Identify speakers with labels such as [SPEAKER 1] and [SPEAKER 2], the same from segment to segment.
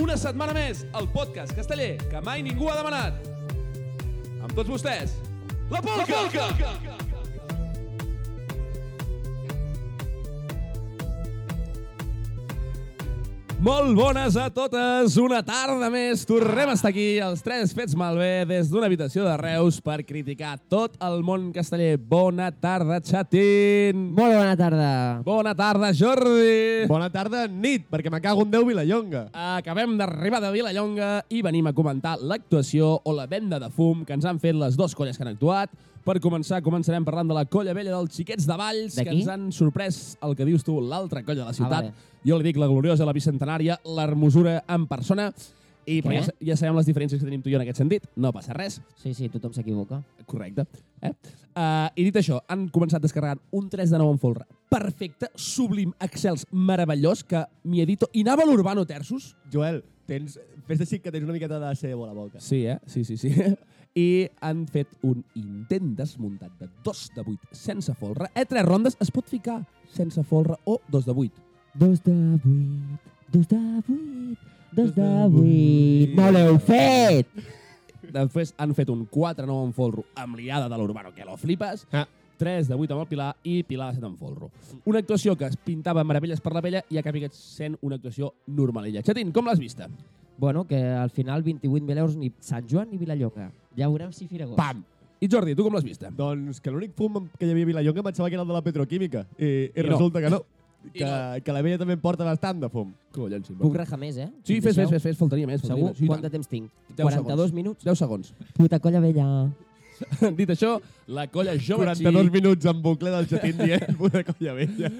[SPEAKER 1] Una setmana més, el podcast casteller que mai ningú ha demanat. Amb tots vostès, la Polca! La Polca! Molt bones a totes, una tarda més. Tornem a estar aquí, els tres fets malbé, des d'una habitació de Reus per criticar tot el món casteller. Bona tarda, xatín!
[SPEAKER 2] Molt bona tarda.
[SPEAKER 1] Bona tarda, Jordi!
[SPEAKER 3] Bona tarda, nit, perquè me cago en Déu Vilallonga.
[SPEAKER 1] Acabem d'arribar de Vilallonga i venim a comentar l'actuació o la venda de fum que ens han fet les dues colles que han actuat. Per començar, començarem parlant de la colla vella dels Xiquets de Valls, que
[SPEAKER 2] D'aquí?
[SPEAKER 1] ens han sorprès el que dius tu, l'altra colla de la ciutat.
[SPEAKER 2] Ah, vale.
[SPEAKER 1] Jo li dic la gloriosa, la bicentenària, l'hermosura en persona. I però
[SPEAKER 2] Què?
[SPEAKER 1] ja, sa- ja sabem les diferències que tenim tu i jo en aquest sentit. No passa res.
[SPEAKER 2] Sí, sí, tothom s'equivoca.
[SPEAKER 1] Correcte. Eh? Uh, I dit això, han començat descarregant un 3 de 9 en folre. Perfecte, sublim, excels, meravellós, que mi edito i anava l'Urbano Terços.
[SPEAKER 3] Joel, tens... fes així que tens una miqueta de cebo a la boca.
[SPEAKER 1] Sí, eh? Sí, sí, sí. I han fet un intent desmuntat de 2 de 8 sense folre. Eh, tres rondes es pot ficar sense folre o 2 de 8.
[SPEAKER 2] Dos de vuit, dos de vuit, dos de
[SPEAKER 3] vuit.
[SPEAKER 2] vuit. No l'heu fet!
[SPEAKER 1] Després han fet un 4 9 en folro amb liada de l'Urbano, que lo flipes.
[SPEAKER 3] Ah.
[SPEAKER 1] 3 de 8 amb el Pilar i Pilar de 7 en folro. Una actuació que es pintava meravelles per la vella i ha acabat sent una actuació normalella. Xatín, com l'has vista?
[SPEAKER 2] Bueno, que al final 28.000 euros ni Sant Joan ni Vilallonga. Ja veurem si Firagós.
[SPEAKER 1] Pam! I Jordi, tu com l'has vista?
[SPEAKER 3] Doncs que l'únic fum que hi havia a Vilallonga em pensava que era el de la petroquímica. I, i,
[SPEAKER 1] I no.
[SPEAKER 3] resulta que no.
[SPEAKER 1] I
[SPEAKER 3] Que, que la vella també en porta bastant de fum.
[SPEAKER 1] Collons, sí.
[SPEAKER 2] Puc rajar més, eh?
[SPEAKER 1] Sí,
[SPEAKER 2] Em
[SPEAKER 1] fes, fes,
[SPEAKER 2] deixeu?
[SPEAKER 1] fes, fes, faltaria més.
[SPEAKER 2] Segur?
[SPEAKER 1] Faltaria més. Sí, i
[SPEAKER 2] Quant de
[SPEAKER 1] tant.
[SPEAKER 2] temps tinc?
[SPEAKER 1] Deu
[SPEAKER 2] 42
[SPEAKER 1] segons.
[SPEAKER 2] minuts?
[SPEAKER 1] 10 segons.
[SPEAKER 2] Puta colla vella.
[SPEAKER 1] Dit això, la colla jove
[SPEAKER 3] 42 minuts en bucle del xatín dient puta colla vella.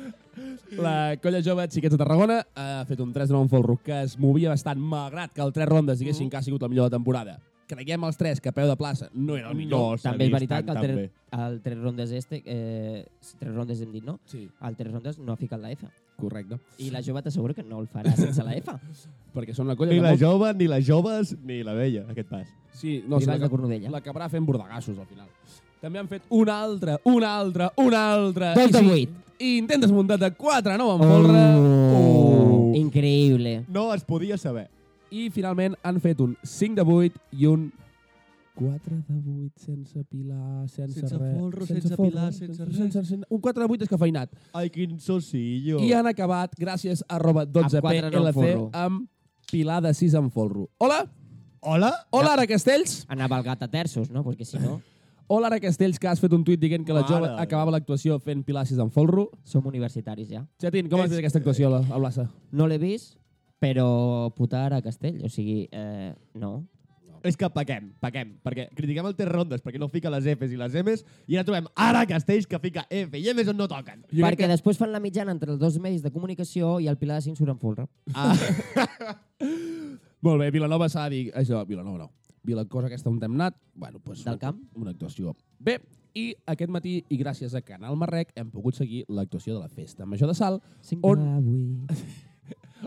[SPEAKER 1] La colla jove Xiquets de Tarragona ha fet un 3 de 9 en folro que es movia bastant, malgrat que el tres rondes diguessin que ha sigut la millor de la temporada. Creiem els tres que a peu de plaça no era el millor.
[SPEAKER 3] s'ha
[SPEAKER 2] També és
[SPEAKER 3] vist
[SPEAKER 2] veritat que
[SPEAKER 3] tant,
[SPEAKER 2] el,
[SPEAKER 3] tan
[SPEAKER 2] tre
[SPEAKER 3] bé.
[SPEAKER 2] el tres rondes este, eh, tres rondes hem dit, no?
[SPEAKER 1] Sí,
[SPEAKER 2] El tres rondes no ha ficat la F.
[SPEAKER 1] correcte.
[SPEAKER 2] I la jove t'asseguro que no el farà sense la F.
[SPEAKER 1] Perquè són la colla
[SPEAKER 3] Ni
[SPEAKER 1] que...
[SPEAKER 3] la
[SPEAKER 1] molt-
[SPEAKER 3] jove, ni les joves, ni la vella, aquest pas.
[SPEAKER 1] Sí, no,
[SPEAKER 2] I
[SPEAKER 1] sí,
[SPEAKER 2] vas
[SPEAKER 1] la,
[SPEAKER 2] de
[SPEAKER 1] que,
[SPEAKER 2] Cornudella.
[SPEAKER 1] la que acabarà fent bordegassos al final. També han fet un altre, un altre, un altre...
[SPEAKER 2] Dos
[SPEAKER 1] i
[SPEAKER 2] de
[SPEAKER 1] sí,
[SPEAKER 2] vuit.
[SPEAKER 1] I intent desmuntat de 4 a 9 en folre.
[SPEAKER 2] Oh. Increïble.
[SPEAKER 3] No es podia saber.
[SPEAKER 1] I finalment han fet un 5 de 8 i un 4 de 8 sense pilar, sense,
[SPEAKER 3] Sense
[SPEAKER 1] res,
[SPEAKER 3] folro, sense pilar, sense res.
[SPEAKER 1] sense, sense, un 4 de 8 descafeinat.
[SPEAKER 3] Ai, quin
[SPEAKER 2] Oh.
[SPEAKER 3] socillo.
[SPEAKER 1] I han acabat, gràcies a arroba
[SPEAKER 2] quatre no en
[SPEAKER 1] 12plc,
[SPEAKER 2] folro.
[SPEAKER 1] amb pilar de 6 en folro. Hola,
[SPEAKER 3] Hola?
[SPEAKER 1] hola Ara Castells.
[SPEAKER 2] Anava el gat a terços, no? Perquè si no,
[SPEAKER 1] Hola Ara Castells, que has fet un tuit dient que la
[SPEAKER 3] Mare
[SPEAKER 1] jove
[SPEAKER 3] de
[SPEAKER 1] acabava l'actuació fent pilar 6 en folro.
[SPEAKER 2] som universitaris ja.
[SPEAKER 1] Xatín, com has
[SPEAKER 3] És-
[SPEAKER 1] vist aquesta actuació a la a plaça?
[SPEAKER 2] No l'he vist, però putar a Castell, o sigui, eh, no.
[SPEAKER 3] És que paquem, paquem, perquè critiquem el Ter Rondes perquè no fica les Fs i les Ms i ara trobem ara Castells que fica F Eh, i Ms on no toquen.
[SPEAKER 1] Jo crec
[SPEAKER 2] Perquè
[SPEAKER 1] que-
[SPEAKER 2] després fan la mitjana entre els dos medis de comunicació i el Pilar de Cinc surt en folre.
[SPEAKER 3] Ah,
[SPEAKER 1] Molt bé, Vilanova s'ha de dir això, Vilanova no. Vilacosa aquesta on hem anat, bueno, doncs
[SPEAKER 2] Del camp.
[SPEAKER 1] una actuació. Bé, i aquest matí, i gràcies a Canal Marrec, hem pogut seguir l'actuació de la festa major de Sal,
[SPEAKER 2] Cinc
[SPEAKER 1] On-
[SPEAKER 2] de vuit.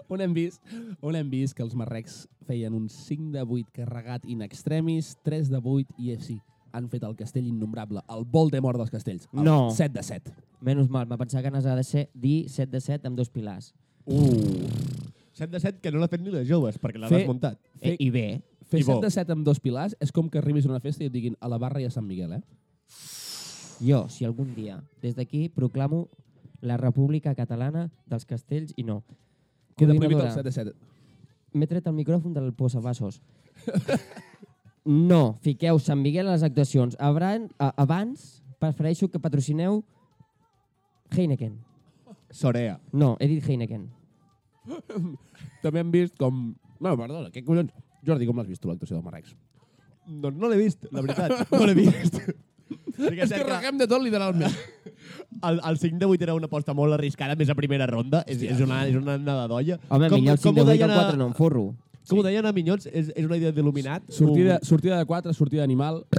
[SPEAKER 1] on hem vist on hem vist que els marrecs feien un 5 de 8 carregat in extremis, 3 de 8 i sí, han fet el castell innombrable, el Voldemort dels castells, el
[SPEAKER 2] No.
[SPEAKER 1] 7 de 7.
[SPEAKER 2] Menys mal, me pensava que n'ha de ser dir 7 de 7 amb dos pilars.
[SPEAKER 1] Uh.
[SPEAKER 3] 7 de 7 que no l'ha fet ni les joves, perquè l'han
[SPEAKER 1] Fer-
[SPEAKER 3] desmuntat.
[SPEAKER 2] Eh, I bé,
[SPEAKER 1] Fer
[SPEAKER 3] I bo.
[SPEAKER 1] 7 de 7 amb dos pilars és com que arribis a una festa i et diguin a la barra i a Sant Miguel, eh?
[SPEAKER 2] jo, si algun dia, des d'aquí, proclamo la República Catalana dels Castells i no.
[SPEAKER 1] Queda prohibit el 7
[SPEAKER 2] Coordinadora.
[SPEAKER 1] de 7.
[SPEAKER 2] M'he tret el micròfon del posavassos. No, fiqueu Sant Miguel a les actuacions. Abran, a, abans prefereixo que patrocineu Heineken.
[SPEAKER 3] Sorea.
[SPEAKER 2] No, he dit Heineken.
[SPEAKER 1] també hem vist com... No, perdona, què collons? Jordi, com l'has vist tu, l'actuació del Marrecs?
[SPEAKER 3] Doncs no l'he vist, la veritat. No l'he vist. Perquè
[SPEAKER 1] És que reguem de tot, literalment.
[SPEAKER 3] el, el 5 de 8 era una aposta molt arriscada, més a primera ronda. És, és una, és una nadolla.
[SPEAKER 2] Home, com, millor el 5 de
[SPEAKER 3] ho
[SPEAKER 2] 8
[SPEAKER 3] deien
[SPEAKER 2] o
[SPEAKER 3] a-
[SPEAKER 2] 4, no em forro.
[SPEAKER 3] Com ho deien a Minyons, és, és una idea d'il·luminat.
[SPEAKER 1] sortida, sortida de 4, sortida d'animal...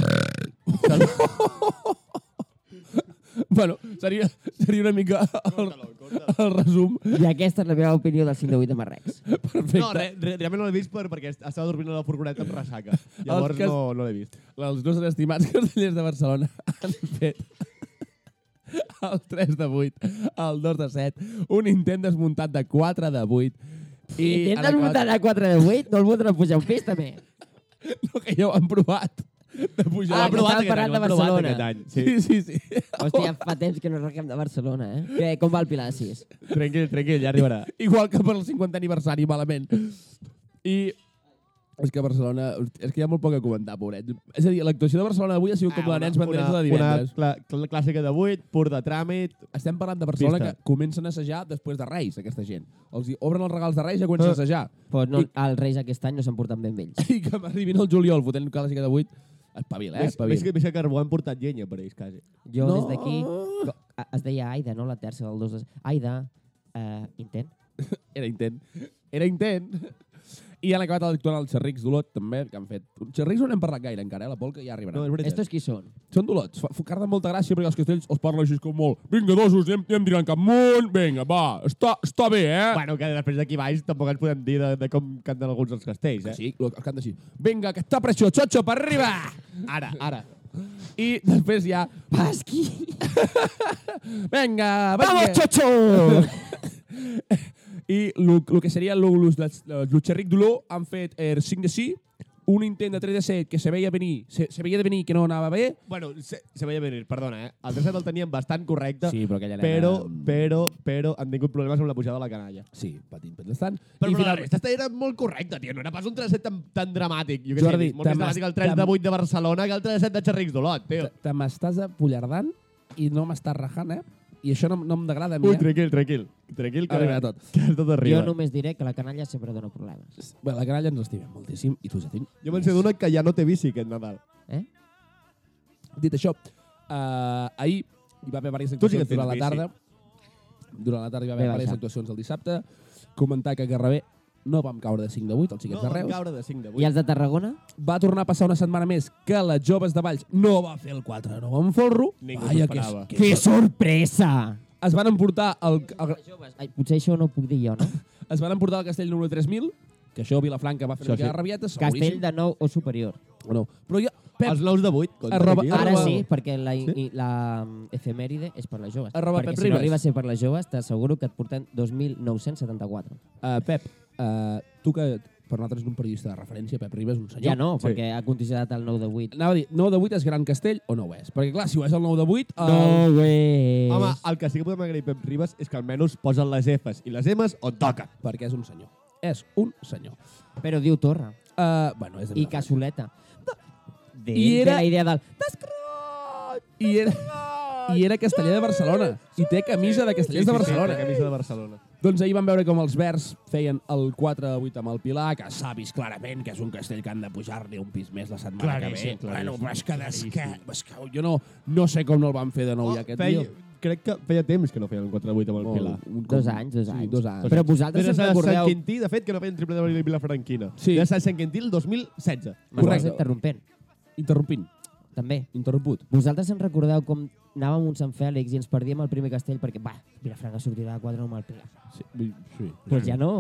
[SPEAKER 1] bueno, seria, seria una mica el, el resum
[SPEAKER 2] I aquesta és la meva opinió del 5 de 8 de Marrecs.
[SPEAKER 1] perfecte.
[SPEAKER 3] No, re, re, realment no l'he vist per, perquè estava dormint a la furgoneta amb ressaca. Llavors
[SPEAKER 1] cas-
[SPEAKER 3] no, no l'he vist.
[SPEAKER 1] Els nostres estimats castellers de Barcelona han fet el 3 de 8, el 2 de 7, un intent desmuntat de 4 de 8.
[SPEAKER 2] Intentes
[SPEAKER 1] adequat.
[SPEAKER 2] votar a 4 de 8, no el votaran pujar un pis, també.
[SPEAKER 1] No, que ja ho han provat. De pujar.
[SPEAKER 2] Ah,
[SPEAKER 1] Ho han
[SPEAKER 2] que
[SPEAKER 1] provat.
[SPEAKER 2] estàvem parlant de Barcelona.
[SPEAKER 3] Sí.
[SPEAKER 1] Sí, sí, sí.
[SPEAKER 2] Hòstia, fa temps que no arrenquem de Barcelona, eh? Què, com va el Pilar 6?
[SPEAKER 3] Tranquil, tranquil, ja arribarà.
[SPEAKER 1] Igual que per el 50 aniversari, malament. I és que Barcelona... És que hi ha molt poc a comentar, pobret. És a dir, l'actuació de Barcelona d'avui ha sigut com la de nens banderes de divendres.
[SPEAKER 3] Ah, Una cla cl clàssica de 8, pur de tràmit...
[SPEAKER 1] Estem parlant de Barcelona
[SPEAKER 3] Pista.
[SPEAKER 1] que comencen a assajar després de Reis, aquesta gent. Els hi obren els regals de Reis i ja comencen a
[SPEAKER 3] Ah.
[SPEAKER 1] assajar.
[SPEAKER 2] Però no, els Reis aquest any no s'han portat ben vells.
[SPEAKER 1] I que m'arribin al juliol fotent clàssica de 8. Espavil, eh?
[SPEAKER 3] Ves, ves,
[SPEAKER 1] Espavil.
[SPEAKER 3] que, ves que Carbó han portat llenya per ells, quasi.
[SPEAKER 2] Jo
[SPEAKER 1] No.
[SPEAKER 2] no. des d'aquí... co- a- Es deia Aida, no? La terça del 2 de... Aida, eh, intent.
[SPEAKER 1] Era intent. Era intent. I han acabat actuant els xerrics d'Olot, també, que han fet... Xerrics no n'hem parlat gaire encara, eh? La polca ja arribarà.
[SPEAKER 3] No, és veritat.
[SPEAKER 2] Estos qui són?
[SPEAKER 1] Són d'Olot. Fa- fa- Carden molta gràcia perquè els castells els parla així com molt. Vinga, dosos, anem, anem tirant cap amunt. Vinga, va, està, està bé, eh?
[SPEAKER 3] Bueno, que després d'aquí baix tampoc ens podem dir de, de com canten alguns dels castells, eh?
[SPEAKER 1] Sí, lo- els canta així. Vinga, que està pressió, xotxo, per arriba!
[SPEAKER 3] Ara, ara.
[SPEAKER 1] I després ja...
[SPEAKER 2] Pasqui!
[SPEAKER 1] Vinga,
[SPEAKER 2] Vamos,
[SPEAKER 1] vinga!
[SPEAKER 2] chocho!
[SPEAKER 1] I el que seria l'Utxerric Dolor han fet eh, 5 de 6, un intent de 3 de 7 que se veia venir, se, se veia de venir que no anava bé,
[SPEAKER 3] Bueno, se, se veia venir, perdona, eh? El tercer el teníem bastant correcte,
[SPEAKER 1] Sí, però aquella nena-
[SPEAKER 3] però, però, però han tingut problemes amb la pujada de la canalla.
[SPEAKER 1] Sí, patint pendestant.
[SPEAKER 3] Però,
[SPEAKER 1] I
[SPEAKER 3] però
[SPEAKER 1] finalment...
[SPEAKER 3] aquesta era molt correcta, tio. No era pas un 3-7 tan, tan dramàtic. Jo què
[SPEAKER 1] Jordi,
[SPEAKER 3] sé, molt més
[SPEAKER 1] te
[SPEAKER 3] dramàtic el
[SPEAKER 1] m'has-
[SPEAKER 3] 3 de 8 de Barcelona que el 3-7 de Xerrics d'Olot, tio.
[SPEAKER 1] Te- Te m'estàs apollardant i no m'estàs rajant, eh? I això no, no em degrada a mi,
[SPEAKER 3] Ui,
[SPEAKER 1] eh?
[SPEAKER 3] tranquil, tranquil. Tranquil, que
[SPEAKER 1] Arribarà tot.
[SPEAKER 3] Que tot arriba.
[SPEAKER 2] Jo només diré que la canalla sempre dona problemes.
[SPEAKER 1] Bé, la canalla ens l'estimem moltíssim i tu ja tinc.
[SPEAKER 3] Jo me'n sé d'una que ja no té bici aquest Nadal.
[SPEAKER 2] Eh?
[SPEAKER 1] Dit això, uh, ahir hi va haver diverses
[SPEAKER 3] Tu sí que
[SPEAKER 1] actuacions durant la
[SPEAKER 3] tens
[SPEAKER 1] tarda. Durant la tarda hi va haver
[SPEAKER 2] Ve
[SPEAKER 1] diverses
[SPEAKER 2] baixant.
[SPEAKER 1] actuacions el dissabte. Comentar que a Garraver no vam caure de 5 de 8, els xiquets
[SPEAKER 3] no,
[SPEAKER 1] de Reus.
[SPEAKER 3] caure de 5 de 8.
[SPEAKER 2] I els de Tarragona?
[SPEAKER 1] Va tornar a passar una setmana més que les joves de Valls no va fer el 4 de 9 en folro.
[SPEAKER 3] Ningú
[SPEAKER 1] Vaja,
[SPEAKER 3] s'ho
[SPEAKER 1] que,
[SPEAKER 3] esperava.
[SPEAKER 1] que,
[SPEAKER 2] Que sorpresa!
[SPEAKER 1] es van emportar el, el,
[SPEAKER 2] Joves, ai, potser això no ho puc dir jo, no?
[SPEAKER 1] es van emportar el castell número 3.000, que això Vilafranca va fer una
[SPEAKER 3] Això
[SPEAKER 1] mica
[SPEAKER 3] sí.
[SPEAKER 1] de rabieta,
[SPEAKER 2] Castell
[SPEAKER 1] seguríssim.
[SPEAKER 2] de nou o superior.
[SPEAKER 1] O no. Però jo, Pep,
[SPEAKER 3] Els 9 de 8. Contra,
[SPEAKER 1] Arroba-
[SPEAKER 3] tio.
[SPEAKER 2] Ara
[SPEAKER 1] Arroba-
[SPEAKER 2] sí, perquè la, i, la mm, efemèride és per les joves.
[SPEAKER 1] Arroba
[SPEAKER 2] perquè
[SPEAKER 1] Pep
[SPEAKER 2] si no
[SPEAKER 1] Ribas.
[SPEAKER 2] arriba a ser per les joves, t'asseguro que et porten 2.974.
[SPEAKER 1] uh, Pep uh, tu que per nosaltres és un periodista de referència, Pep Ribas, un senyor.
[SPEAKER 2] Ja no,
[SPEAKER 3] sí.
[SPEAKER 2] perquè ha condicionat el 9 de 8.
[SPEAKER 1] Anava a dir, 9 de 8 és Gran Castell o no ho és? Perquè clar, si ho és el 9 de 8... El...
[SPEAKER 2] way!
[SPEAKER 3] Home, el que sí que podem agrair Pep Ribas és que almenys posen les Fs i les Ms on toca.
[SPEAKER 1] Perquè és un senyor. És un senyor.
[SPEAKER 2] Però diu Torra.
[SPEAKER 1] Uh, bueno, és de
[SPEAKER 2] I
[SPEAKER 1] Vilafranca.
[SPEAKER 2] Casoleta. De,
[SPEAKER 1] I era-
[SPEAKER 2] de la idea del...
[SPEAKER 1] I era, I era casteller de Barcelona. I té camisa de castellers de Barcelona. eh?
[SPEAKER 3] Sí, camisa de Barcelona.
[SPEAKER 1] Doncs ahir vam veure com els verds feien el 4 a 8 amb el Pilar, que s'ha vist clarament que és un castell que han de pujar-li un pis més la setmana
[SPEAKER 3] Claríssim,
[SPEAKER 1] que ve.
[SPEAKER 3] claríssim,
[SPEAKER 1] bueno, però és que, des que,
[SPEAKER 3] claríssim. Oh,
[SPEAKER 1] és que jo no, no sé com no el van fer de nou ja aquest
[SPEAKER 3] feia,
[SPEAKER 1] dia.
[SPEAKER 3] crec que feia temps que no feien el 4 de 8 amb el
[SPEAKER 1] Molt,
[SPEAKER 3] Pilar.
[SPEAKER 1] un
[SPEAKER 2] Dos
[SPEAKER 1] com-
[SPEAKER 2] anys, dos
[SPEAKER 1] sí,
[SPEAKER 2] anys.
[SPEAKER 1] Dos anys.
[SPEAKER 2] Però vosaltres
[SPEAKER 3] Des
[SPEAKER 2] us
[SPEAKER 3] de Sant
[SPEAKER 2] recordeu...
[SPEAKER 3] Quintí, de fet, que no feien triple de Vilafranquina.
[SPEAKER 1] Sí.
[SPEAKER 3] De Sant Quintí el 2016.
[SPEAKER 2] M'estàs
[SPEAKER 1] Correcte.
[SPEAKER 2] interrompent,
[SPEAKER 1] Interrompint.
[SPEAKER 2] també.
[SPEAKER 1] Interromput.
[SPEAKER 2] Vosaltres en recordeu com anàvem a un Sant Fèlix i ens perdíem el primer castell perquè, va, Vilafranca sortirà de quadre amb el Pilar.
[SPEAKER 1] Sí. vull- sí.
[SPEAKER 2] Doncs ja no.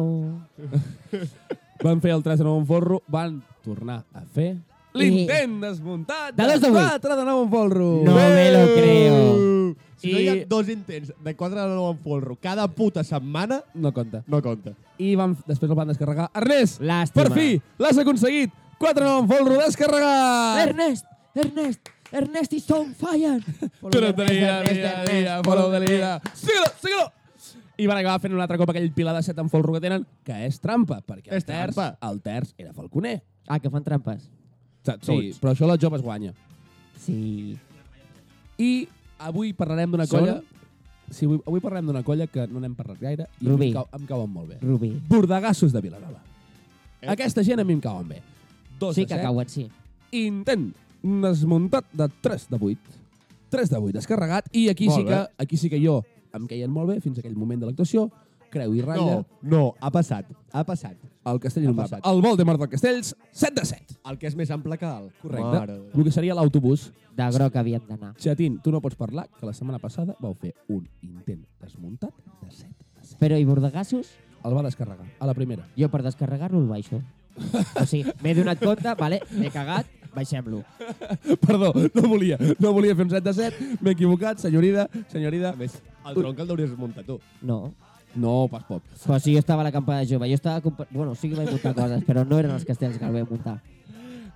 [SPEAKER 1] Van fer el 3 de 9 en forro, van tornar a fer... L'intent desmuntat
[SPEAKER 2] De dos de vuit.
[SPEAKER 1] 4 de 9 en forro.
[SPEAKER 2] No me lo creo.
[SPEAKER 3] Creo. Si no hi ha
[SPEAKER 1] I-
[SPEAKER 3] dos intents de 4 de 9 en folro cada puta setmana,
[SPEAKER 1] No compta.
[SPEAKER 3] no compta.
[SPEAKER 1] I van, després el van descarregar. Ernest,
[SPEAKER 2] Llàstima.
[SPEAKER 1] per fi, l'has aconseguit. 4 de 9 en folro, descarregat.
[SPEAKER 2] Ernest, Ernest, Ernest is on fire.
[SPEAKER 1] Tu no tenia dia, dia, follow de l'ira. Síguelo, síguelo! I van acabar fent un altre cop aquell pilar de set amb folro que tenen, que és trampa, perquè el
[SPEAKER 3] És
[SPEAKER 1] terç,
[SPEAKER 3] trampa.
[SPEAKER 1] el terç era falconer.
[SPEAKER 2] Ah, que fan trampes.
[SPEAKER 1] Saps? Sí,
[SPEAKER 3] Tots.
[SPEAKER 1] però això la joves guanya.
[SPEAKER 2] Sí.
[SPEAKER 1] I avui parlarem d'una
[SPEAKER 2] Sona?
[SPEAKER 1] colla... Sí, avui, avui parlarem d'una colla que no n'hem parlat gaire i a mi
[SPEAKER 2] Rubí.
[SPEAKER 1] em, cau, em cauen molt bé.
[SPEAKER 2] Rubí.
[SPEAKER 1] Bordegassos de Vilanova.
[SPEAKER 3] Eh?
[SPEAKER 1] Aquesta gent a mi em cauen bé. Dos
[SPEAKER 2] Sí
[SPEAKER 1] de
[SPEAKER 2] que
[SPEAKER 1] set,
[SPEAKER 2] cauen, sí.
[SPEAKER 1] intent desmuntat de 3 de 8. 3 de 8 descarregat i aquí
[SPEAKER 3] Molt
[SPEAKER 1] sí que aquí sí que jo em queien molt bé fins a aquell moment de l'actuació. Creu i ratlla,
[SPEAKER 3] No, no, ha passat, ha passat.
[SPEAKER 1] el castell no
[SPEAKER 3] passat.
[SPEAKER 1] El Voldemort del Castells, 7 de 7.
[SPEAKER 3] El que és més ample que alt.
[SPEAKER 1] Correcte.
[SPEAKER 3] Mare de Déu.
[SPEAKER 1] El que seria l'autobús.
[SPEAKER 2] De groc havíem d'anar.
[SPEAKER 1] Xatín, tu no pots parlar, que la setmana passada vau fer un intent desmuntat de 7 de 7.
[SPEAKER 2] Però i bordegassos?
[SPEAKER 1] El va descarregar, a la primera.
[SPEAKER 2] Jo per descarregar-lo el baixo. O sigui, m'he donat compte, vale, m'he cagat, baixem-lo.
[SPEAKER 1] Perdó, no volia, no volia fer un 7 de 7, m'he equivocat, senyorida, senyorida.
[SPEAKER 3] A més, el tronc el deuries muntar tu.
[SPEAKER 2] No.
[SPEAKER 1] No, pas poc.
[SPEAKER 2] Però si jo estava a la campada jove, jo estava... compa- Bueno, sí que vaig muntar coses, però no eren els castells que el vaig muntar.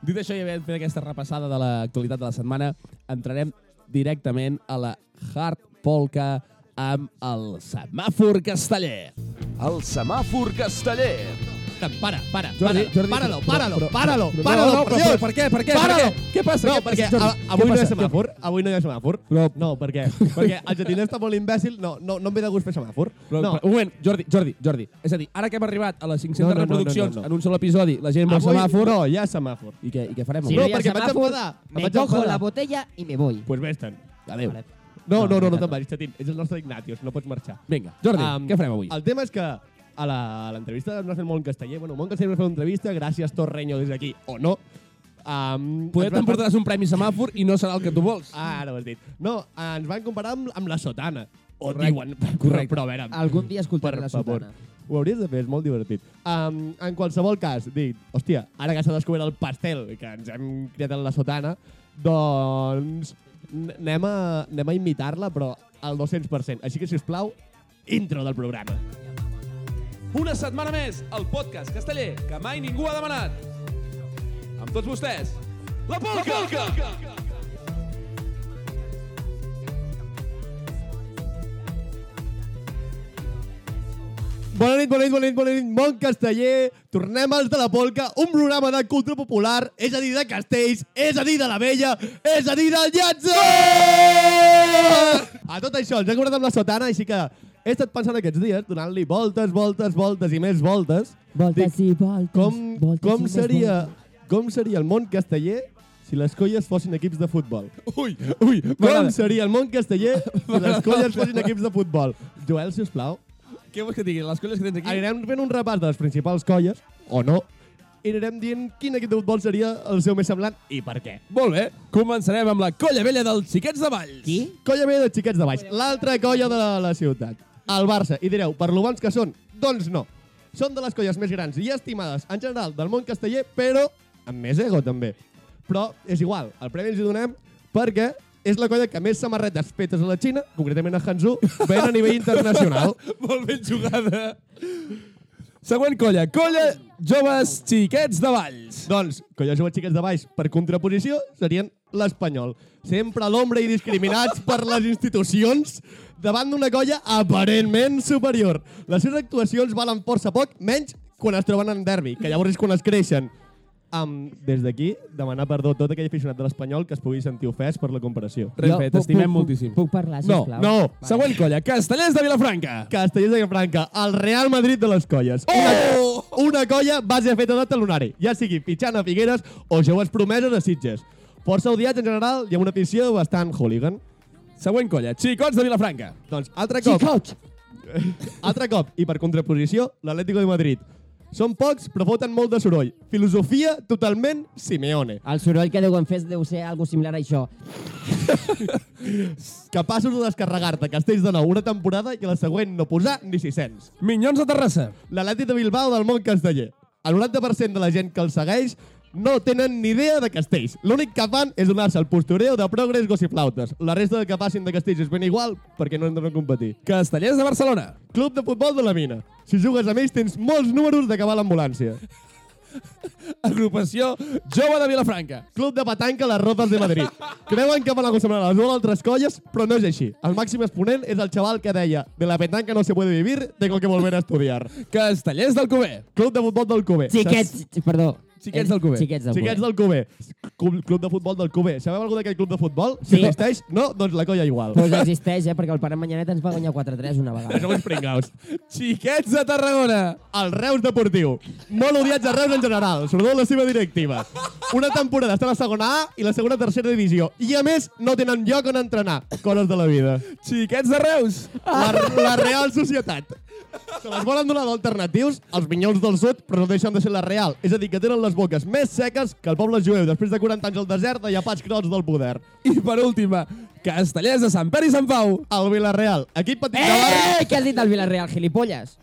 [SPEAKER 1] Dit això i havent fet aquesta repassada de l'actualitat de la setmana, entrarem directament a la Hard Polka amb el semàfor casteller.
[SPEAKER 4] El semàfor casteller.
[SPEAKER 3] Para, para,
[SPEAKER 1] Jordi,
[SPEAKER 3] para,
[SPEAKER 1] Jordi,
[SPEAKER 3] páralo,
[SPEAKER 1] però-
[SPEAKER 3] páralo,
[SPEAKER 1] però-
[SPEAKER 3] páralo,
[SPEAKER 1] però-
[SPEAKER 3] páralo,
[SPEAKER 1] no, no,
[SPEAKER 3] por
[SPEAKER 1] però-
[SPEAKER 3] Dios.
[SPEAKER 1] però per què, per què, per
[SPEAKER 3] Páralo.
[SPEAKER 1] què? Què passa,
[SPEAKER 3] No,
[SPEAKER 1] què
[SPEAKER 3] perquè
[SPEAKER 1] passa, Jordi?
[SPEAKER 3] a- avui
[SPEAKER 1] Què
[SPEAKER 3] no hi ha
[SPEAKER 1] passa?
[SPEAKER 3] semàfor, avui no hi ha semàfor.
[SPEAKER 1] Però-
[SPEAKER 3] No, per què? perquè el jardiner està molt imbècil, no, no, no em ve de gust fer semàfor.
[SPEAKER 1] Però,
[SPEAKER 3] no,
[SPEAKER 1] no. Un moment, Jordi, Jordi, Jordi. És a dir, ara que hem arribat a les 500
[SPEAKER 3] No, no, no,
[SPEAKER 1] reproduccions
[SPEAKER 3] no, no, no.
[SPEAKER 1] en un sol episodi, la gent vol
[SPEAKER 3] avui
[SPEAKER 1] semàfor...
[SPEAKER 3] no hi ha semàfor.
[SPEAKER 1] I què, I què farem? avui?
[SPEAKER 3] Sí, no, perquè em vaig enfadar, em
[SPEAKER 2] Me
[SPEAKER 3] vaig
[SPEAKER 2] cojo
[SPEAKER 3] enfadar.
[SPEAKER 2] la botella i me voy.
[SPEAKER 3] Pues vés-te'n.
[SPEAKER 1] Adéu.
[SPEAKER 2] Vale.
[SPEAKER 3] No, no, no, no,
[SPEAKER 1] no.
[SPEAKER 3] te'n vagis, Chatín. És el nostre Ignatius, no pots marxar.
[SPEAKER 1] Vinga, Jordi,
[SPEAKER 3] Am,
[SPEAKER 1] què farem avui?
[SPEAKER 3] El tema és que a la- a l'entrevista ens va fer el Mont Casteller. Bueno, Mont Casteller va fer una entrevista, gràcies Torreño des d'aquí, o no. Um,
[SPEAKER 1] Poder t'emportaràs un premi semàfor i no serà el que tu vols.
[SPEAKER 3] Ah, ara ho has dit. No, ens van comparar amb, amb la sotana. O
[SPEAKER 1] Correcte,
[SPEAKER 3] diuen,
[SPEAKER 1] correcte.
[SPEAKER 3] però a veure,
[SPEAKER 2] Algun dia escoltaré
[SPEAKER 3] per
[SPEAKER 2] la
[SPEAKER 3] favor.
[SPEAKER 2] sotana.
[SPEAKER 3] Ho hauries de fer, és molt divertit. Um, en qualsevol cas, dic, hòstia, ara que s'ha descobert el pastel que ens hem creat en la sotana, doncs n- anem a, anem a imitar-la, però al 200%. Així que, si us plau, intro del programa.
[SPEAKER 1] Una setmana més, el podcast casteller que mai ningú ha demanat. Amb tots vostès, la Polca! La Polca!
[SPEAKER 3] Bona nit, bona nit, bona nit, bona nit, bon casteller. Tornem als de la polca, un programa de cultura popular, és a dir, de castells, és a dir, de la vella, és a dir, del llatzer! A tot això, ens hem cobrat amb la sotana, així que he estat pensant aquests dies, donant-li voltes, voltes, voltes i més voltes.
[SPEAKER 2] Voltes i voltes,
[SPEAKER 3] Com,
[SPEAKER 2] voltes i
[SPEAKER 3] com,
[SPEAKER 2] més
[SPEAKER 3] seria,
[SPEAKER 2] voltes.
[SPEAKER 3] com seria el món casteller si les colles fossin equips de futbol?
[SPEAKER 1] Ui, ui,
[SPEAKER 3] Com
[SPEAKER 1] m'agrada.
[SPEAKER 3] seria el món casteller si les colles fossin equips de futbol? Joel, si us plau,
[SPEAKER 1] Què vols que et digui? Les colles que tens aquí?
[SPEAKER 3] Anirem fent un repàs de les principals colles, o no, i anirem dient quin equip de futbol seria el seu més semblant i per què.
[SPEAKER 1] Molt bé, començarem amb la colla vella dels xiquets de Valls.
[SPEAKER 2] Qui?
[SPEAKER 3] Colla B dels xiquets de baix, l'altra colla de la, la ciutat, el Barça. I direu, per lo bons que són? Doncs no. Són de les colles més grans i estimades en general del món casteller, però amb més ego també. Però és igual, el premi ens hi donem perquè és la colla que més samarretes fetes a la Xina, concretament a Hangzhou, ven a nivell internacional.
[SPEAKER 1] Molt ben jugada. Següent colla, colla joves xiquets de Valls.
[SPEAKER 3] Doncs, que jo jugo xiquets de baix, per contraposició, serien l'espanyol. Sempre a l'ombra i discriminats per les institucions davant d'una colla aparentment superior. Les seves actuacions valen força poc, menys quan es troben en derbi, que llavors és quan es creixen. Um, des d'aquí, demanar perdó a tot aquell aficionat de l'Espanyol que es pugui sentir ofès per la comparació.
[SPEAKER 1] Res
[SPEAKER 2] Jo
[SPEAKER 1] fet,
[SPEAKER 2] puc-
[SPEAKER 1] t'estimem
[SPEAKER 2] puc-
[SPEAKER 1] moltíssim.
[SPEAKER 2] Puc parlar,
[SPEAKER 1] No,
[SPEAKER 2] sisplau?
[SPEAKER 1] no. Següent colla, castellers de Vilafranca.
[SPEAKER 3] Castellers de Franca, el Real Madrid de les colles. Oh! Una, una colla base feta de talonari, ja sigui pitjant a Figueres o joves promeses a Sitges. Força odiats en general i amb una afició bastant hooligan.
[SPEAKER 1] Següent colla, xicots de Vilafranca.
[SPEAKER 3] Doncs altre cop,
[SPEAKER 2] Xicots!
[SPEAKER 3] altre cop i per contraposició, l'Atlético de Madrid. Són pocs, però foten molt de soroll. Filosofia totalment Simeone.
[SPEAKER 2] El soroll que deuen fer deu ser algo similar a això.
[SPEAKER 3] Capaços de descarregar-te castells de nou una temporada i a la següent no posar ni 600.
[SPEAKER 1] Minyons de Terrassa.
[SPEAKER 3] l'Atlètic de Bilbao del món casteller. El 90% de la gent que el segueix no tenen ni idea de castells. L'únic que fan és donar-se el postureo de progres gossiflautes. La resta de que passin de castells és ben igual perquè no entren a competir.
[SPEAKER 1] Castellers de Barcelona.
[SPEAKER 3] Club de futbol de la mina. Si jugues amb ells tens molts números d'acabar a l'ambulància.
[SPEAKER 1] Agrupació Jove de Vilafranca.
[SPEAKER 3] Club de petanca a les Rozes de Madrid. Creuen que van acostumar a les dues altres colles, però no és així. El màxim exponent és el xaval que deia de la petanca no se puede vivir, tengo que volver a estudiar.
[SPEAKER 1] Castellers del Cover.
[SPEAKER 3] Club de futbol del Cove.
[SPEAKER 2] Xiquets! Perdó. Eh,
[SPEAKER 1] Xiquets del Cuber.
[SPEAKER 2] Xiquets del Cuber.
[SPEAKER 3] Xiquets del Cuber. Club, club de futbol del Cuber. Sabeu algú d'aquest club de futbol? Si
[SPEAKER 2] Sí.
[SPEAKER 3] existeix, no? Doncs la colla igual.
[SPEAKER 2] Pues existeix, eh? Perquè el pare Manyanet ens va guanyar 4-3 una vegada.
[SPEAKER 3] Sou uns pringaus.
[SPEAKER 1] Xiquets de Tarragona.
[SPEAKER 3] El Reus Deportiu. Molt odiats a Reus en general, sobretot la seva directiva. Una temporada està a la segona A i la segona tercera divisió. I a més, no tenen lloc on entrenar. Coses de la vida.
[SPEAKER 1] Xiquets de Reus.
[SPEAKER 3] La, la Real Societat. Se les volen donar d'alternatius als minyons del sud, però no deixen de ser la Real. És a dir, que tenen les boques més seques que el poble jueu després de 40 anys al desert de llapats crots del poder.
[SPEAKER 1] I per última, Castellers de Sant Pere i Sant Pau.
[SPEAKER 3] El Villarreal, equip petit de barri,
[SPEAKER 2] Eh! Què has dit del Villarreal, gilipolles?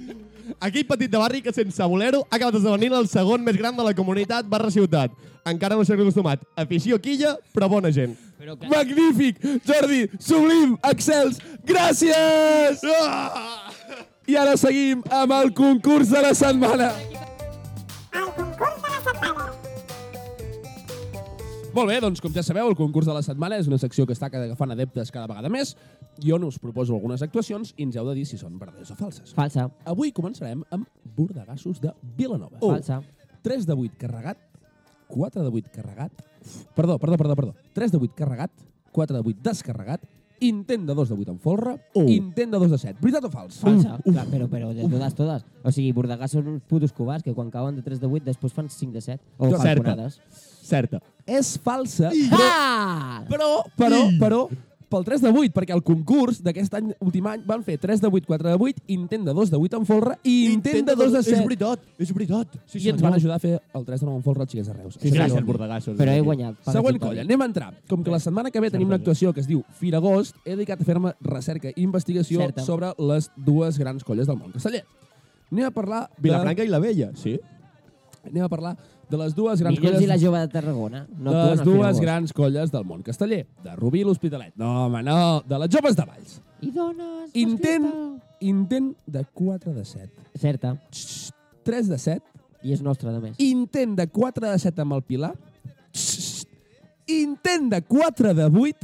[SPEAKER 3] equip petit de barri que sense voler-ho ha acabat esdevenint el segon més gran de la comunitat barra ciutat. Encara no s'hi ha acostumat. Afició quilla, però bona gent.
[SPEAKER 2] Però que...
[SPEAKER 1] Magnífic, Jordi, sublim, excels, gràcies!
[SPEAKER 3] Ah!
[SPEAKER 1] I ara seguim amb el concurs de la setmana. Molt bé, doncs com ja sabeu, el concurs de la setmana és una secció que està agafant adeptes cada vegada més. Jo no us proposo algunes actuacions i ens heu de dir si són verdades o falses.
[SPEAKER 2] Falsa.
[SPEAKER 1] Avui començarem amb bordegassos de Vilanova.
[SPEAKER 2] Falsa.
[SPEAKER 1] 3 de 8 carregat, 4 de 8 carregat, perdó, perdó, perdó, perdó, 3 de 8 carregat, 4 de 8 descarregat, intent de 2 de 8 en folre,
[SPEAKER 3] Oh.
[SPEAKER 1] intent de 2 de 7. Veritat o fals?
[SPEAKER 2] Falsa. Clar, però, però de totes, totes. O sigui, bordegàs són uns putos covards que quan cauen de 3 de 8 després fan 5 de 7. O
[SPEAKER 3] Jo-
[SPEAKER 2] fan
[SPEAKER 3] Certa.
[SPEAKER 2] conades.
[SPEAKER 3] Certa.
[SPEAKER 1] És falsa,
[SPEAKER 2] Ah!
[SPEAKER 1] però, però,
[SPEAKER 3] I-
[SPEAKER 1] però, pel 3 de 8, perquè al concurs d'aquest any, últim any, van fer 3 de 8, 4 de 8, intent de 2 de 8 en folre i intent de 2 de
[SPEAKER 3] És
[SPEAKER 1] 7.
[SPEAKER 3] veritat, és veritat. Sí,
[SPEAKER 1] I ens van ajudar a fer el 3 de 9 en folre als xiquets de Reus. Això sí que
[SPEAKER 3] Gràcies,
[SPEAKER 1] ho vam dir.
[SPEAKER 3] bordegassos.
[SPEAKER 2] Però he guanyat. Paga
[SPEAKER 1] Següent
[SPEAKER 2] culpa.
[SPEAKER 1] colla, anem a entrar. Com que la setmana que ve tenim una actuació que es diu Firagost, he dedicat a fer-me recerca i investigació
[SPEAKER 2] Certa.
[SPEAKER 1] sobre les dues grans colles del món casteller. Anem a parlar de,
[SPEAKER 3] Vilafranca i la Vella, sí.
[SPEAKER 1] anem a parlar de les dues grans
[SPEAKER 2] Milions i la
[SPEAKER 1] colles
[SPEAKER 2] jove de Tarragona. No
[SPEAKER 1] de les
[SPEAKER 2] actuen al
[SPEAKER 1] dues
[SPEAKER 2] Firabos.
[SPEAKER 1] grans colles del món casteller, de Rubí i l'Hospitalet. No, home, no, de les joves de Valls.
[SPEAKER 2] I dones.
[SPEAKER 1] Intent,
[SPEAKER 2] masclista.
[SPEAKER 1] intent de 4 de 7.
[SPEAKER 2] Certa.
[SPEAKER 1] 3 de 7.
[SPEAKER 2] I és nostra, de més.
[SPEAKER 1] Intent de 4 de 7 amb el Pilar. Intent de 4 de 8.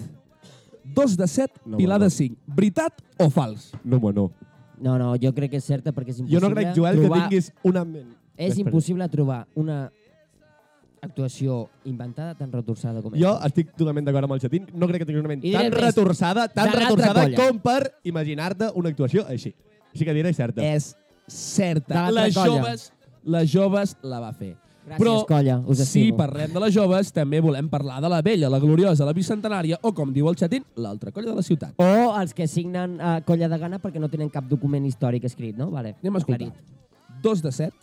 [SPEAKER 1] 2 de 7,
[SPEAKER 3] No,
[SPEAKER 1] Pilar
[SPEAKER 3] no.
[SPEAKER 1] de 5. Veritat o fals?
[SPEAKER 3] No, home, no.
[SPEAKER 2] No, no, jo crec que és certa perquè és
[SPEAKER 3] Jo
[SPEAKER 2] impossible
[SPEAKER 3] no crec, Joel, que
[SPEAKER 2] trobar...
[SPEAKER 3] tinguis una ment.
[SPEAKER 2] És
[SPEAKER 3] Després.
[SPEAKER 2] impossible trobar una actuació inventada tan retorçada com
[SPEAKER 3] Jo estic totalment d'acord amb el Xatín. No crec que tingui una ment
[SPEAKER 2] I diré
[SPEAKER 3] tan
[SPEAKER 2] el més
[SPEAKER 3] retorçada,
[SPEAKER 2] de
[SPEAKER 3] tan
[SPEAKER 2] l'altra
[SPEAKER 3] retorçada
[SPEAKER 2] colla.
[SPEAKER 3] com per imaginar-te una actuació així. Així que diré certa.
[SPEAKER 2] Eh.
[SPEAKER 1] És certa.
[SPEAKER 2] De l'altra
[SPEAKER 1] Les
[SPEAKER 2] colla.
[SPEAKER 1] joves, les joves la va fer.
[SPEAKER 2] Gràcies, colla, us
[SPEAKER 1] si
[SPEAKER 2] estimo.
[SPEAKER 1] parlem de les joves, també volem parlar de la vella, la gloriosa, la bicentenària o, com diu el xatín, l'altra colla de la ciutat.
[SPEAKER 2] O els que signen a colla de gana perquè no tenen cap document històric escrit, no? Vale.
[SPEAKER 1] Anem a escoltar.
[SPEAKER 2] Aclarit.
[SPEAKER 1] 2 de 7,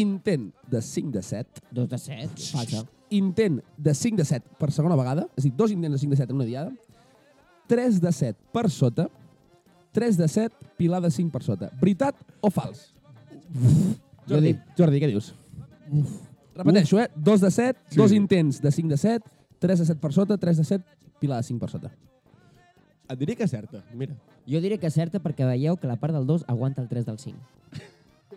[SPEAKER 1] intent de 5 de 7,
[SPEAKER 2] Dos de set, falsa.
[SPEAKER 1] intent de 5 de 7 per segona vegada, és a dir, dos intents de 5 de 7 en una diada, 3 de 7 per sota, 3 de 7, pilar de 5 per sota. Veritat o fals? Jordi, Jordi, què dius? Repeteixo, eh? 2 de 7,
[SPEAKER 3] Sí.
[SPEAKER 1] 2 intents de 5 de 7, 3 de 7 per sota, 3 de 7, pilar de 5 per sota.
[SPEAKER 3] Et diré que és certa. Mira.
[SPEAKER 2] Jo diré que és certa perquè veieu que la part del 2 aguanta el 3 del 5.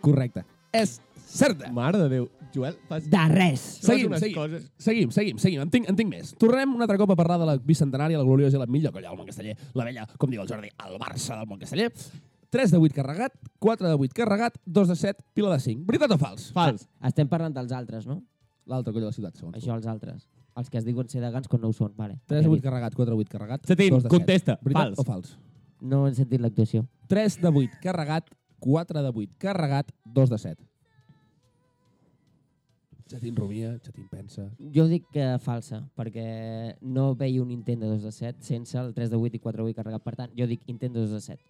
[SPEAKER 1] Correcte. És certa.
[SPEAKER 3] Mare de Déu. Joel, fas...
[SPEAKER 2] De res!
[SPEAKER 1] Seguim,
[SPEAKER 3] unes
[SPEAKER 1] seguim,
[SPEAKER 3] coses.
[SPEAKER 1] seguim, seguim, seguim, en tinc, en tinc més. Tornem un altre cop a parlar de la bicentenària, la gloriosa i la millor colla del món casteller, la vella, com diu el Jordi, el Barça del món casteller. 3 de 8 carregat, 4 de 8 carregat, 2 de 7, pila de 5. Veritat o fals?
[SPEAKER 3] Fals.
[SPEAKER 2] Estem parlant dels altres, no?
[SPEAKER 1] L'altra colla de la ciutat, segons
[SPEAKER 2] Això, els altres. Els que es diuen ser de gans quan no ho són, vale.
[SPEAKER 1] 3 de 8
[SPEAKER 2] Aclarit.
[SPEAKER 1] carregat, 4 de 8 carregat,
[SPEAKER 3] Setín,
[SPEAKER 1] 2 de 7.
[SPEAKER 3] contesta.
[SPEAKER 1] Veritat
[SPEAKER 3] Fals.
[SPEAKER 1] o fals?
[SPEAKER 2] No he sentit l'actuació.
[SPEAKER 1] 3 de 8 carregat, 4 de 8 carregat, 2 de 7. Xatín rumia, Xatín pensa.
[SPEAKER 2] Jo dic que falsa, perquè no veia un intent de 2 de 7 sense el 3 de 8 i 4 de 8 carregat. Per tant, jo dic intent de 2 de 7.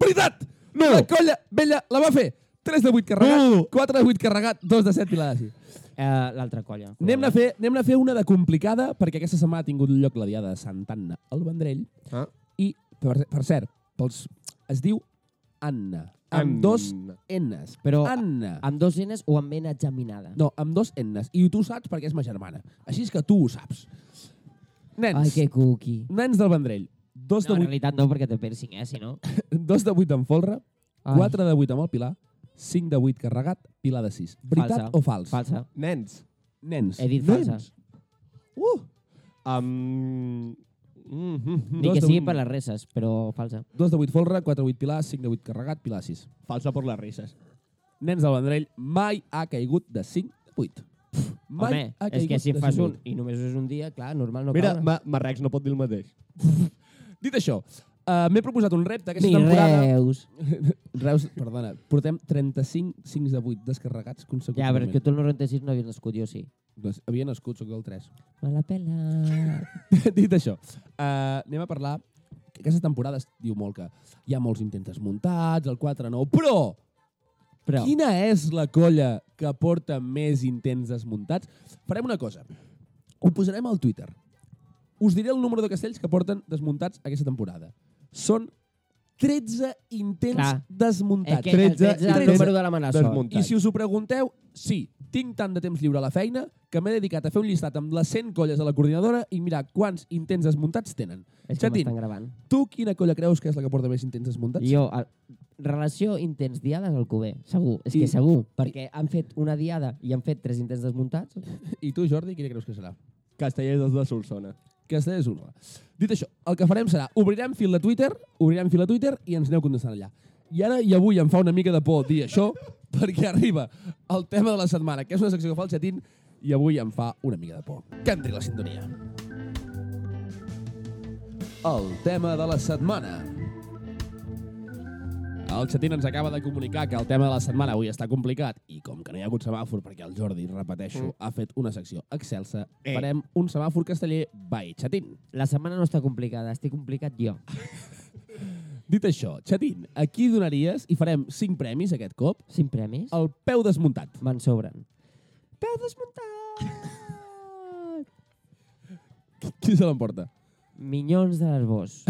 [SPEAKER 1] Veritat! No. La colla vella la va fer. 3 de 8 carregat,
[SPEAKER 3] No.
[SPEAKER 1] 4 de 8 carregat, 2 de 7 pilades.
[SPEAKER 2] Eh, L'altra colla.
[SPEAKER 1] Anem a, fer, anem a fer una de complicada, perquè aquesta setmana ha tingut lloc la diada de Sant Anna al Vendrell.
[SPEAKER 3] Ah.
[SPEAKER 1] I, per, per cert, pels, es diu Anna, amb
[SPEAKER 3] Anna.
[SPEAKER 1] dos N's.
[SPEAKER 2] Però
[SPEAKER 1] Anna.
[SPEAKER 2] Amb dos N's o amb N geminada?
[SPEAKER 1] No, amb dos N's. I tu ho saps perquè és ma germana. Així és que tu ho saps. Nens,
[SPEAKER 2] Ai, que cuqui.
[SPEAKER 1] nens del Vendrell. 2
[SPEAKER 2] No, en
[SPEAKER 1] de 8,
[SPEAKER 2] realitat no, perquè té piercing, eh, si no.
[SPEAKER 1] dos de 8 en folre,
[SPEAKER 2] Ai.
[SPEAKER 1] 4 de 8 amb el Pilar, 5 de 8 carregat, Pilar de 6. Veritat
[SPEAKER 2] Falsa.
[SPEAKER 1] o fals?
[SPEAKER 2] Falsa.
[SPEAKER 3] Nens.
[SPEAKER 1] Nens.
[SPEAKER 2] He dit
[SPEAKER 3] Nens.
[SPEAKER 2] falsa.
[SPEAKER 3] Uh! Um... Mm -hmm.
[SPEAKER 2] Ni
[SPEAKER 1] Dos
[SPEAKER 2] que
[SPEAKER 1] de
[SPEAKER 2] sigui
[SPEAKER 1] un.
[SPEAKER 2] per les reses, però falsa.
[SPEAKER 1] 2 de 8 folre, 4 de 8 Pilar, 5 de 8 carregat, Pilar de 6.
[SPEAKER 3] Falsa per les risses.
[SPEAKER 1] Nens del Vendrell mai ha caigut de 5 a 8. Mai
[SPEAKER 2] Home,
[SPEAKER 1] ha
[SPEAKER 2] és
[SPEAKER 1] caigut
[SPEAKER 2] que si
[SPEAKER 1] de
[SPEAKER 2] en fas
[SPEAKER 1] 5 a
[SPEAKER 2] un i només és un dia, clar, normal no
[SPEAKER 3] Mira,
[SPEAKER 2] caure.
[SPEAKER 3] Ma Marrecs no pot dir el mateix.
[SPEAKER 1] 8. Dit això, uh, m'he proposat un repte aquesta
[SPEAKER 2] Ni
[SPEAKER 1] temporada.
[SPEAKER 2] Reus.
[SPEAKER 1] Reus, perdona, portem 35 5 de 8 descarregats
[SPEAKER 2] Ja, però
[SPEAKER 1] consecutivament.
[SPEAKER 2] és que tu el 96 no havies nascut, jo sí.
[SPEAKER 1] Doncs havia nascut, soc del 3.
[SPEAKER 2] Me la pela.
[SPEAKER 1] Dit això, uh, anem a parlar... que Aquesta temporada es diu molt que hi ha molts intents muntats, el 4-9, però
[SPEAKER 2] Però,
[SPEAKER 1] Quina és la colla que porta més intents desmuntats? Farem una cosa. Ho posarem al Twitter. Us diré el número de castells que porten desmuntats aquesta temporada. Són 13 intents
[SPEAKER 2] Clar.
[SPEAKER 1] desmuntats.
[SPEAKER 2] És que el
[SPEAKER 3] 13,
[SPEAKER 2] 13 és el
[SPEAKER 1] 13,
[SPEAKER 2] número de la mala sort.
[SPEAKER 3] desmunt.
[SPEAKER 1] I si us ho pregunteu, sí, tinc tant de temps lliure a la feina que m'he dedicat a fer un llistat amb les 100 colles a la coordinadora i mirar quants intents desmuntats tenen.
[SPEAKER 2] És que
[SPEAKER 1] Xatín,
[SPEAKER 2] m'estan gravant.
[SPEAKER 1] tu quina colla creus que és la que porta més intents desmuntats?
[SPEAKER 2] Jo, el, relació intents diades al Cuber, segur, és
[SPEAKER 1] I-
[SPEAKER 2] que segur, perquè han fet una diada i han fet tres intents desmuntats.
[SPEAKER 1] I tu, Jordi, quina creus que serà?
[SPEAKER 3] Castellers dels de Solsona.
[SPEAKER 1] Castella és urba. Dit això, el que farem serà obrirem fil de Twitter, obrirem fil de Twitter i ens aneu contestant allà. I ara i avui em fa una mica de por dir això perquè arriba el tema de la setmana, que és una secció que fa el xatín i avui em fa una mica de por. Que entri la sintonia. El tema de la setmana. El Xatín ens acaba de comunicar que el tema de la setmana avui està complicat i com que no hi ha hagut semàfor perquè el Jordi, repeteixo, ha fet una secció excelsa,
[SPEAKER 3] Mm. Eh.
[SPEAKER 1] farem un semàfor casteller by Xatín.
[SPEAKER 2] La setmana no està complicada, estic complicat jo.
[SPEAKER 1] Dit això, Xatín, a qui donaries, i farem cinc premis aquest cop,
[SPEAKER 2] Cinc premis, Oh,
[SPEAKER 1] el peu desmuntat.
[SPEAKER 2] me'n sobren. Peu desmuntat!
[SPEAKER 1] Qui se l'emporta?
[SPEAKER 2] Minyons de l'Arbós.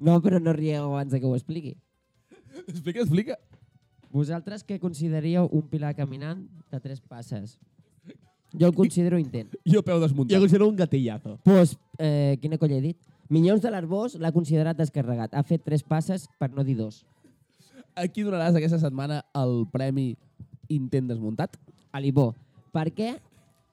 [SPEAKER 2] no, però no rieu abans de que ho expliqui.
[SPEAKER 1] Explica, explica.
[SPEAKER 2] Vosaltres què consideríeu un pilar caminant de tres passes? Jo el considero intent.
[SPEAKER 1] Jo peu
[SPEAKER 3] Jo
[SPEAKER 1] desmuntat.
[SPEAKER 3] considero un gatillazo.
[SPEAKER 2] Pues, eh, quina colla he dit? Minyons de l'Arbós l'ha considerat descarregat. Ha fet tres passes per no dir dos.
[SPEAKER 1] A qui donaràs aquesta setmana el premi intent desmuntat?
[SPEAKER 2] A l'Ibó. Per què?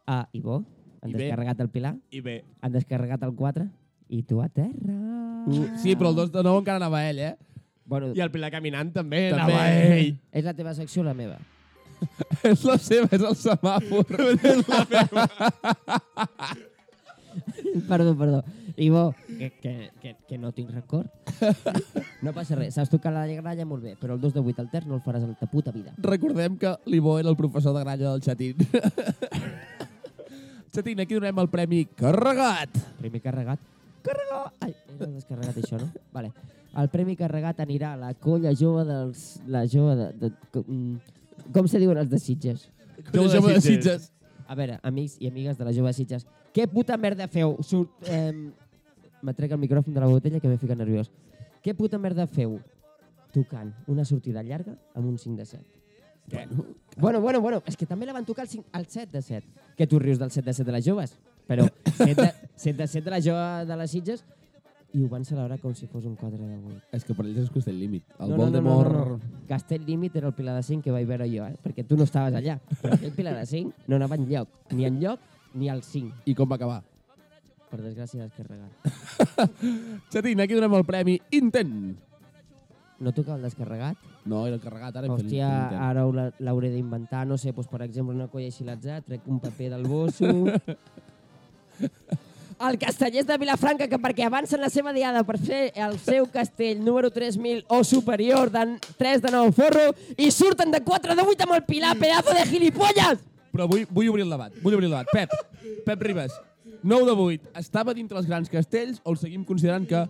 [SPEAKER 2] A Ibó. Han
[SPEAKER 1] Ibé.
[SPEAKER 2] descarregat el Pilar,
[SPEAKER 3] I bé,
[SPEAKER 2] han descarregat el 4 i tu a terra.
[SPEAKER 1] Uh,
[SPEAKER 3] Ah.
[SPEAKER 1] sí, però el 2 de 9 encara anava ell, eh?
[SPEAKER 2] Bueno,
[SPEAKER 3] i el Pilar Caminant també,
[SPEAKER 1] També.
[SPEAKER 3] anava ell.
[SPEAKER 2] és la teva secció o la meva?
[SPEAKER 1] és la seva, és el semàfor.
[SPEAKER 2] perdó, perdó. Ibó, que, que, que, que no tinc rancor. No passa res. Saps tocar la gralla molt bé, però el 2 de 8 al terç no el faràs en ta puta vida.
[SPEAKER 1] Recordem que l'Ibó era el professor de gralla del Xatín. Xatín, aquí donem el premi carregat.
[SPEAKER 2] Premi carregat. Carregat! Ai, era descarregat això, no? Vale. El premi carregat anirà a la colla jove dels... La jove de... de com, com se diuen els de Sitges?
[SPEAKER 1] Jo
[SPEAKER 3] Jove
[SPEAKER 1] de
[SPEAKER 3] de
[SPEAKER 1] Sitges.
[SPEAKER 3] Sitges.
[SPEAKER 2] A veure, amics i amigues de la jove de Sitges, què puta merda feu? Surt, eh, me trec el micròfon de la botella que me fica nerviós. Què puta merda feu tocant una sortida llarga amb un 5 de 7?
[SPEAKER 1] Bueno,
[SPEAKER 2] Bueno, bueno, bueno, és que també la van tocar al, 5, al 7 de 7. Que tu rius del 7 de 7 de les joves, però 7 de 7 de, 7 de la jove de les Sitges i ho van celebrar com si fos un 4 de 8.
[SPEAKER 1] és que per ells és costat límit. El
[SPEAKER 2] No, no, no,
[SPEAKER 1] Voldemort...
[SPEAKER 2] no, no, no. Castell Límit era el Pilar de 5 que vaig veure jo, eh? perquè tu no estaves allà. Però aquell Pilar de 5 no anava enlloc, ni enlloc ni al 5,
[SPEAKER 1] I com va acabar?
[SPEAKER 2] per desgràcia descarregat.
[SPEAKER 1] Xatín, aquí donem el premi intent.
[SPEAKER 2] No tocava el descarregat?
[SPEAKER 1] No, era el carregat, ara hem fet
[SPEAKER 2] Hòstia,
[SPEAKER 1] l'intent.
[SPEAKER 2] ara ho la- l'hauré d'inventar, no sé, doncs, per exemple, una colla així l'atzar, trec un paper del bosso... El castellers de Vilafranca, que perquè avancen la seva diada per fer el seu castell número 3.000 o superior de 3 de 9 forro i surten de 4 de 8 amb el Pilar, pedazo de gilipolles!
[SPEAKER 1] Però vull, vull obrir el debat, vull obrir el debat. Pep, Pep Ribas, 9 de 8, estava dintre els grans castells o el seguim considerant que...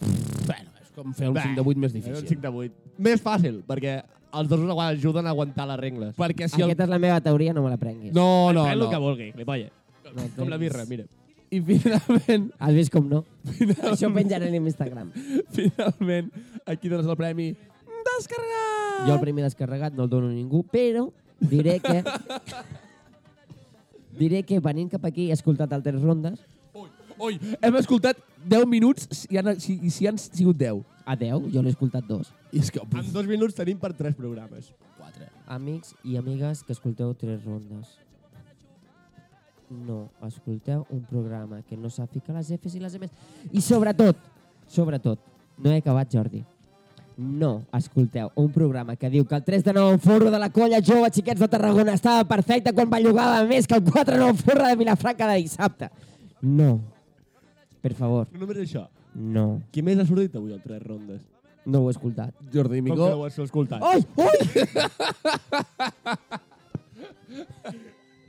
[SPEAKER 1] Pff, Bueno, és com fer un 5 de 8 més
[SPEAKER 3] Era Eh, un
[SPEAKER 1] difícil.
[SPEAKER 3] 5 de 8. Més fàcil, perquè els dos us ajuden a aguantar les regles.
[SPEAKER 1] Perquè si el...
[SPEAKER 2] Aquesta és la meva teoria, no me la prenguis.
[SPEAKER 1] No, no,
[SPEAKER 3] Fes el que
[SPEAKER 1] no.
[SPEAKER 3] vulgui, gilipolles.
[SPEAKER 2] No
[SPEAKER 3] Com la
[SPEAKER 2] tens-
[SPEAKER 3] birra, mira.
[SPEAKER 1] I finalment,
[SPEAKER 2] Has vist com no? Això ho penjaré en Instagram.
[SPEAKER 1] finalment, aquí dones el premi descarregat.
[SPEAKER 2] Jo el primer descarregat no el dono a ningú, però diré que... diré que venint cap aquí he escoltat altres rondes.
[SPEAKER 1] Ui, ui, hem escoltat 10 minuts si han, si, si han sigut 10.
[SPEAKER 2] A 10, jo l'he escoltat dos.
[SPEAKER 1] I és que...
[SPEAKER 3] En dos minuts tenim per tres programes.
[SPEAKER 1] 4.
[SPEAKER 2] Amics i amigues que escolteu tres rondes. No, escolteu un programa que no sap ficar les Fs i les Ms. I sobretot, sobretot, no he acabat, Jordi. No, escolteu, un programa que diu que el 3 de 9 forro de la colla jove xiquets de Tarragona estava perfecte quan bellugava més que el 4 de 9 forro de Vilafranca de dissabte. No. Per favor,
[SPEAKER 3] No només això.
[SPEAKER 2] no.
[SPEAKER 3] Qui més ha sortit avui al tres rondes?
[SPEAKER 2] No ho he escoltat.
[SPEAKER 1] Jordi
[SPEAKER 3] Com que
[SPEAKER 1] Migó,
[SPEAKER 3] no ho has escoltat?
[SPEAKER 2] Oi, oi!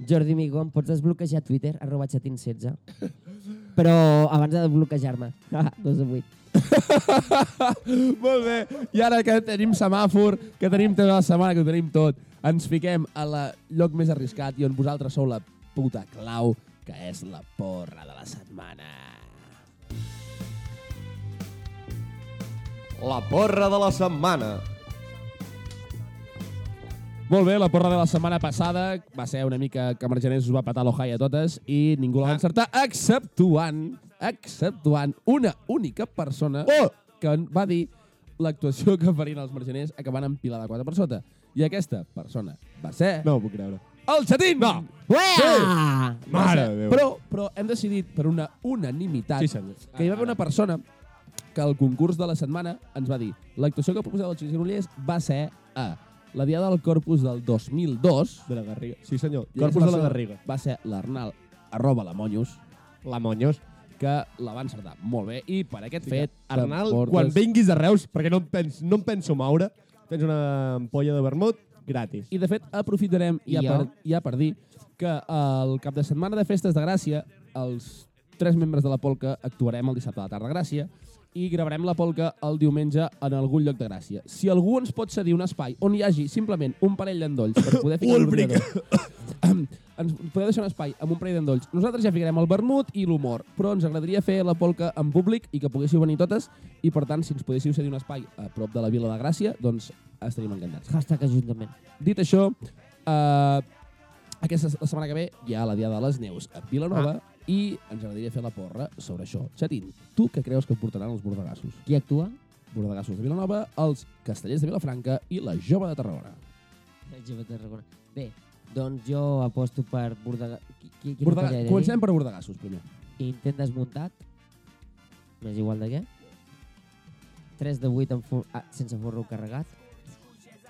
[SPEAKER 2] Jordi Migó, em pots desbloquejar Twitter, arroba xatin16. Però abans de desbloquejar-me. Ah, Dos de vuit.
[SPEAKER 1] Molt bé. I ara que tenim semàfor, que tenim tota la setmana, que ho tenim tot, ens fiquem a la lloc més arriscat i on vosaltres sou la puta clau, que és la porra de la setmana.
[SPEAKER 3] La porra de la setmana.
[SPEAKER 1] Molt bé, la porra de la setmana passada va ser una mica que Margeners us va patar l'Ohio a totes i ningú la va encertar, exceptuant, exceptuant una única persona
[SPEAKER 3] Oh!
[SPEAKER 1] que va dir l'actuació que farien els Margeners acabant amb Pilar de 4 per sota. I aquesta persona va ser...
[SPEAKER 3] No ho puc creure.
[SPEAKER 1] El Chatín! No!
[SPEAKER 2] Uea!
[SPEAKER 3] Mare de Déu.
[SPEAKER 1] Però, però hem decidit per una unanimitat
[SPEAKER 3] Sí, senyor.
[SPEAKER 1] que hi va haver una persona que al concurs de la setmana ens va dir l'actuació que proposava el Xavier Granollers va ser a la Diada del Corpus del 2002
[SPEAKER 3] De la Garriga. Sí, senyor.
[SPEAKER 1] I
[SPEAKER 3] Corpus de la
[SPEAKER 1] aquesta
[SPEAKER 3] Garriga.
[SPEAKER 1] persona Va ser l'Arnal arroba la Monyos
[SPEAKER 3] La Monyos.
[SPEAKER 1] que la va encertar molt bé i per aquest fet...
[SPEAKER 3] Arnal,
[SPEAKER 1] te'n portes-
[SPEAKER 3] quan vinguis a Reus, perquè no em, pens, no em penso moure, tens una ampolla de vermut gratis.
[SPEAKER 1] I, de fet, aprofitarem ja
[SPEAKER 2] I jo?
[SPEAKER 1] per, ja per dir que el cap de setmana de Festes de Gràcia, els tres membres de la polca actuarem el dissabte a la tarda a Gràcia i gravarem la polca el diumenge en algun lloc de Gràcia. Si algú ens pot cedir un espai on hi hagi simplement un parell d'endolls per poder ficar
[SPEAKER 3] Ulbricht.
[SPEAKER 1] Em, ens podeu deixar un espai amb un parell d'endolls. Nosaltres ja ficarem el vermut i l'humor, però ens agradaria fer la polca en públic i que poguéssiu venir totes i, per tant, si ens podéssiu cedir un espai a prop de la Vila de Gràcia, doncs estaríem encantats.
[SPEAKER 2] Hashtag Ajuntament.
[SPEAKER 1] Dit això, eh, aquesta la setmana que ve hi ha la Diada de les Neus a Vilanova ah. i ens agradaria fer la porra sobre això. Xatín, tu què creus que portaran els bordegassos?
[SPEAKER 2] Qui actua?
[SPEAKER 1] Bordegassos de Vilanova, els castellers de Vilafranca i la jove de Tarragona.
[SPEAKER 2] Jove Tarragona. Bé, doncs jo aposto per Bordegà... Qui, qui, quina eh?
[SPEAKER 1] Bordega...
[SPEAKER 2] colla he de dir?
[SPEAKER 1] Comencem per bordegassos, primer.
[SPEAKER 2] Intent desmuntat. M'és igual de què. 3 de 8 amb for... ah, sense forro carregat.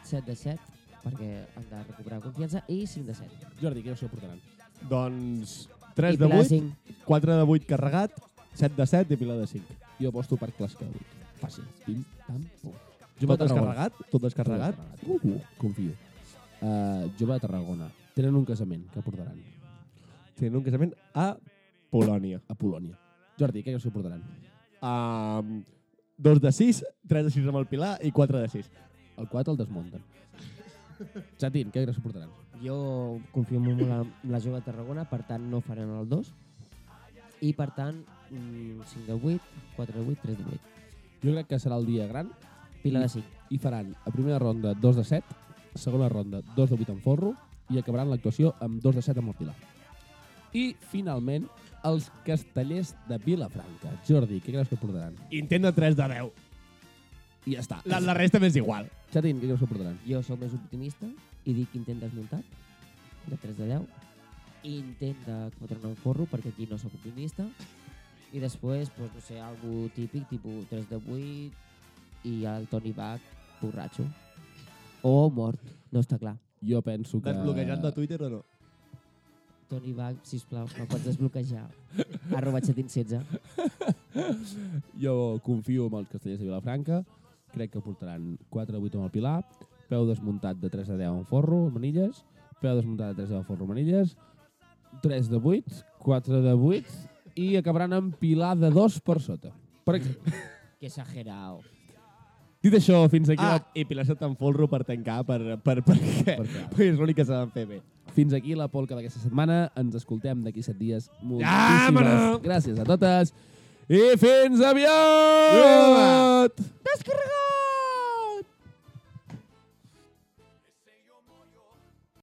[SPEAKER 2] 7 de 7, perquè han de recuperar confiança. I 5 de 7.
[SPEAKER 1] Jordi, què us portaran?
[SPEAKER 3] Doncs 3
[SPEAKER 2] I
[SPEAKER 3] de
[SPEAKER 2] Pilar
[SPEAKER 3] 8,
[SPEAKER 2] 5.
[SPEAKER 3] 4 de 8 carregat, 7 de 7 i Pilar de 5.
[SPEAKER 1] Jo aposto per Clasca de Vic. Fàcil. Pim, pam, pum.
[SPEAKER 3] Tot descarregat? Tot descarregat?
[SPEAKER 1] Uh, uh, confio. Uh, jove de Tarragona. Tenen un casament que portaran
[SPEAKER 3] Tenen un casament a Polònia.
[SPEAKER 1] a Polònia. Jordi, què us portaran?
[SPEAKER 3] Um, 2 de 6, 3 de 6 amb el Pilar i 4 de 6.
[SPEAKER 1] El 4 el desmunten. Xatín, què creus que portaran?
[SPEAKER 2] Jo confio molt en la, en la jove Tarragona, per tant no faran el 2. I per tant, mm, 5 de 8, 4 de 8, 3 de 8.
[SPEAKER 1] Jo crec que serà el dia gran
[SPEAKER 2] Pila de 5.
[SPEAKER 1] i faran a primera ronda 2 de 7, segona ronda 2 de 8 amb forro i acabaran l'actuació amb 2 de 7 amb el Pilar. I, finalment, els castellers de Vilafranca. Jordi, què creus que portaran?
[SPEAKER 3] Intent de 3 de 10.
[SPEAKER 1] I ja està.
[SPEAKER 3] La, la resta m'és igual.
[SPEAKER 1] Xatín, què creus que portaran?
[SPEAKER 2] Jo sóc més optimista i dic intent desmuntat, de 3 de 10. I intent de fotre un forro, perquè aquí no sóc optimista. I després, doncs, no sé, algo típic, tipus 3 de 8 i el Tony Bach borratxo. O mort, no està clar.
[SPEAKER 1] Jo penso que...
[SPEAKER 3] Desbloquejat de Twitter o no?
[SPEAKER 2] Tony Bach, sisplau, me'l pots desbloquejar. Arroba xatin 16.
[SPEAKER 1] Jo confio en els castellers de Vilafranca. Crec que portaran 4 de 8 amb el Pilar, peu desmuntat de 3 de 10 amb forro, amb manilles, peu desmuntat de 3 de 10 amb forro, amb manilles, 3 de 8, 4 de 8, i acabaran amb Pilar de 2 per sota. Per ex-
[SPEAKER 2] Que exagerao.
[SPEAKER 1] Dit això, fins aquí,
[SPEAKER 3] Ah,
[SPEAKER 1] la,
[SPEAKER 3] i Pilar se't enfolro per tancar, per, per, per, què?
[SPEAKER 1] Per què?
[SPEAKER 3] Perquè és l'únic que saben fer bé.
[SPEAKER 1] fins aquí la polca d'aquesta setmana. Ens escoltem d'aquí 7 dies.
[SPEAKER 3] Llámara!
[SPEAKER 1] Moltíssimes gràcies a totes i fins aviat!
[SPEAKER 3] Llámara!
[SPEAKER 1] Descarregat!